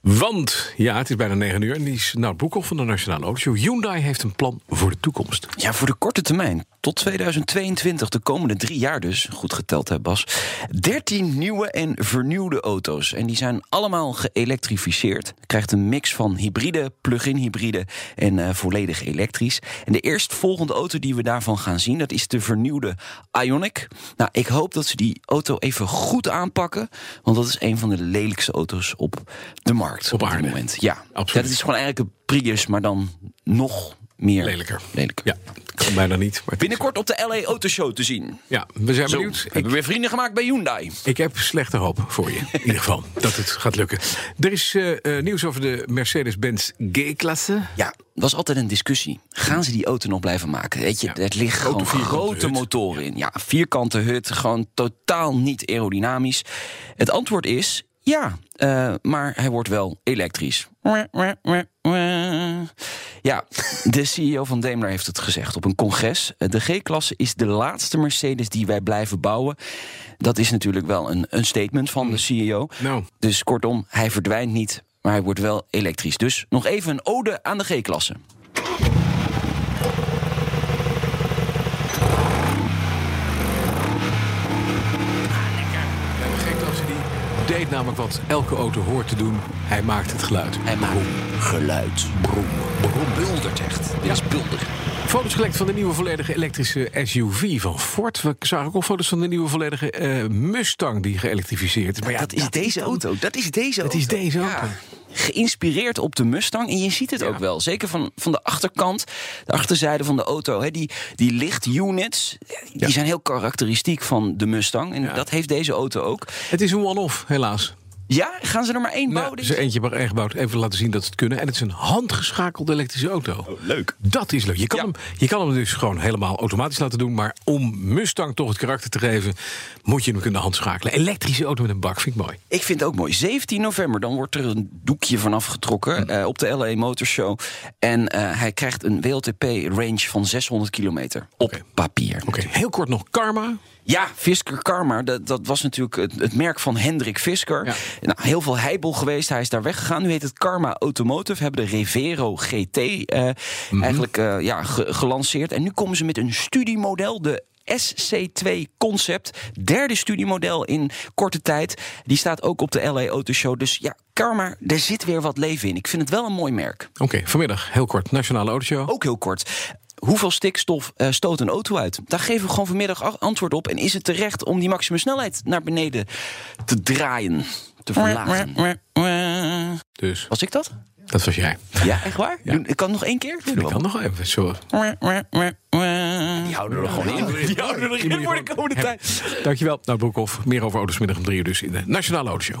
Want, ja, het is bijna 9 uur en die is naar Boekhoff van de Nationale Autoshow. Hyundai heeft een plan voor de toekomst. Ja, voor de korte termijn. Tot 2022, de komende drie jaar dus, goed geteld hè Bas. 13 nieuwe en vernieuwde auto's. En die zijn allemaal geëlektrificeerd. Krijgt een mix van hybride, plug-in hybride en eh, volledig elektrisch. En de eerstvolgende auto die we daarvan gaan zien, dat is de vernieuwde Ionic. Nou, ik hoop dat ze die auto even goed aanpakken. Want dat is een van de lelijkste auto's op de markt. Op dit aarde. moment. Ja, Absoluut. Ja, dat is gewoon eigenlijk een Prius, maar dan nog meer Lelijker. lelijker. Ja, het kan bijna niet. Maar het is- Binnenkort op de LA Autoshow te zien. Ja, we zijn Zo, benieuwd. hebben Ik, we weer vrienden gemaakt bij Hyundai. ik heb slechte hoop voor je. In ieder geval dat het gaat lukken. Er is eh, eh, nieuws over de Mercedes-Benz G-klasse. Ja, was altijd een discussie. Gaan ze die auto nog blijven maken? Weet je, Ja, er liggen grote gewoon vierkante grote hut. motoren in. Ja, vierkante hut, gewoon totaal niet aerodynamisch. Het antwoord is ja, eh, maar hij wordt wel elektrisch. Ja, de CEO van Daimler heeft het gezegd op een congres. De G-klasse is de laatste Mercedes die wij blijven bouwen. Dat is natuurlijk wel een, een statement van de CEO. Nou. Dus kortom, hij verdwijnt niet, maar hij wordt wel elektrisch. Dus nog even een ode aan de G-klasse. Ja, de G-klasse die deed namelijk wat elke auto hoort te doen. Hij maakt het geluid. Hij maakt geluid. Broem. Broem. Buldert echt. Dit is bulder. Foto's gelekt van de nieuwe volledige elektrische SUV van Ford. We zagen ook al foto's van de nieuwe volledige eh, Mustang die geëlektrificeerd is. Maar ja, dat is deze auto. Dat is deze Dat auto. is deze auto. Geïnspireerd op de Mustang. En je ziet het Ja. ook wel. Zeker van, van de achterkant, de achterzijde van de auto. Hè, die, die lichtunits, die Ja. zijn heel karakteristiek van de Mustang. En Ja. dat heeft deze auto ook. Het is een one-off, helaas. Ja, gaan ze er maar één bouwen? Nou, denk ze je? eentje maar één gebouwd. Even laten zien dat ze het kunnen. En het is een handgeschakelde elektrische auto. leuk. Dat is leuk. Je kan, Oh, Ja. hem, je kan hem dus gewoon helemaal automatisch laten doen. Maar om Mustang toch het karakter te geven, moet je hem kunnen handschakelen. Elektrische auto met een bak, vind ik mooi. Ik vind het ook mooi. 17 november, dan wordt er een doekje vanaf getrokken Hm. eh, op de LA Motor Show. En eh, hij krijgt een WLTP-range van 600 kilometer. Op Oké. papier. Oké, heel kort nog Karma. Ja, Fisker Karma, dat, dat was natuurlijk het, het merk van Hendrik Fisker. Ja. Nou, heel veel heibel geweest, hij is daar weggegaan. Nu heet het Karma Automotive, hebben de Revero GT eh, eigenlijk eh, ja, ge- gelanceerd. En nu komen ze met een studiemodel, de SC2 Concept. Derde studiemodel in korte tijd. Die staat ook op de LA Auto Show. Dus ja, Karma, daar zit weer wat leven in. Ik vind het wel een mooi merk. Oké, vanmiddag, heel kort, Nationale Autoshow. Ook heel kort. Hoeveel stikstof eh, stoot een auto uit? Daar geven we gewoon vanmiddag a- antwoord op. En is het terecht om die maximum snelheid naar beneden te draaien? Te verlagen? Dus, Was ik dat? dat was jij. Ja, echt waar? Ja. Doe- Ik kan nog één keer? Doe Ik dat kan nog even, zo. Die houden we er gewoon in. Die houden we Die moet je erin voor de gewoon komende hebben. tijd. Dankjewel, nou Broekhoff. Meer over auto's middag om drie uur dus in de Nationale Autoshow.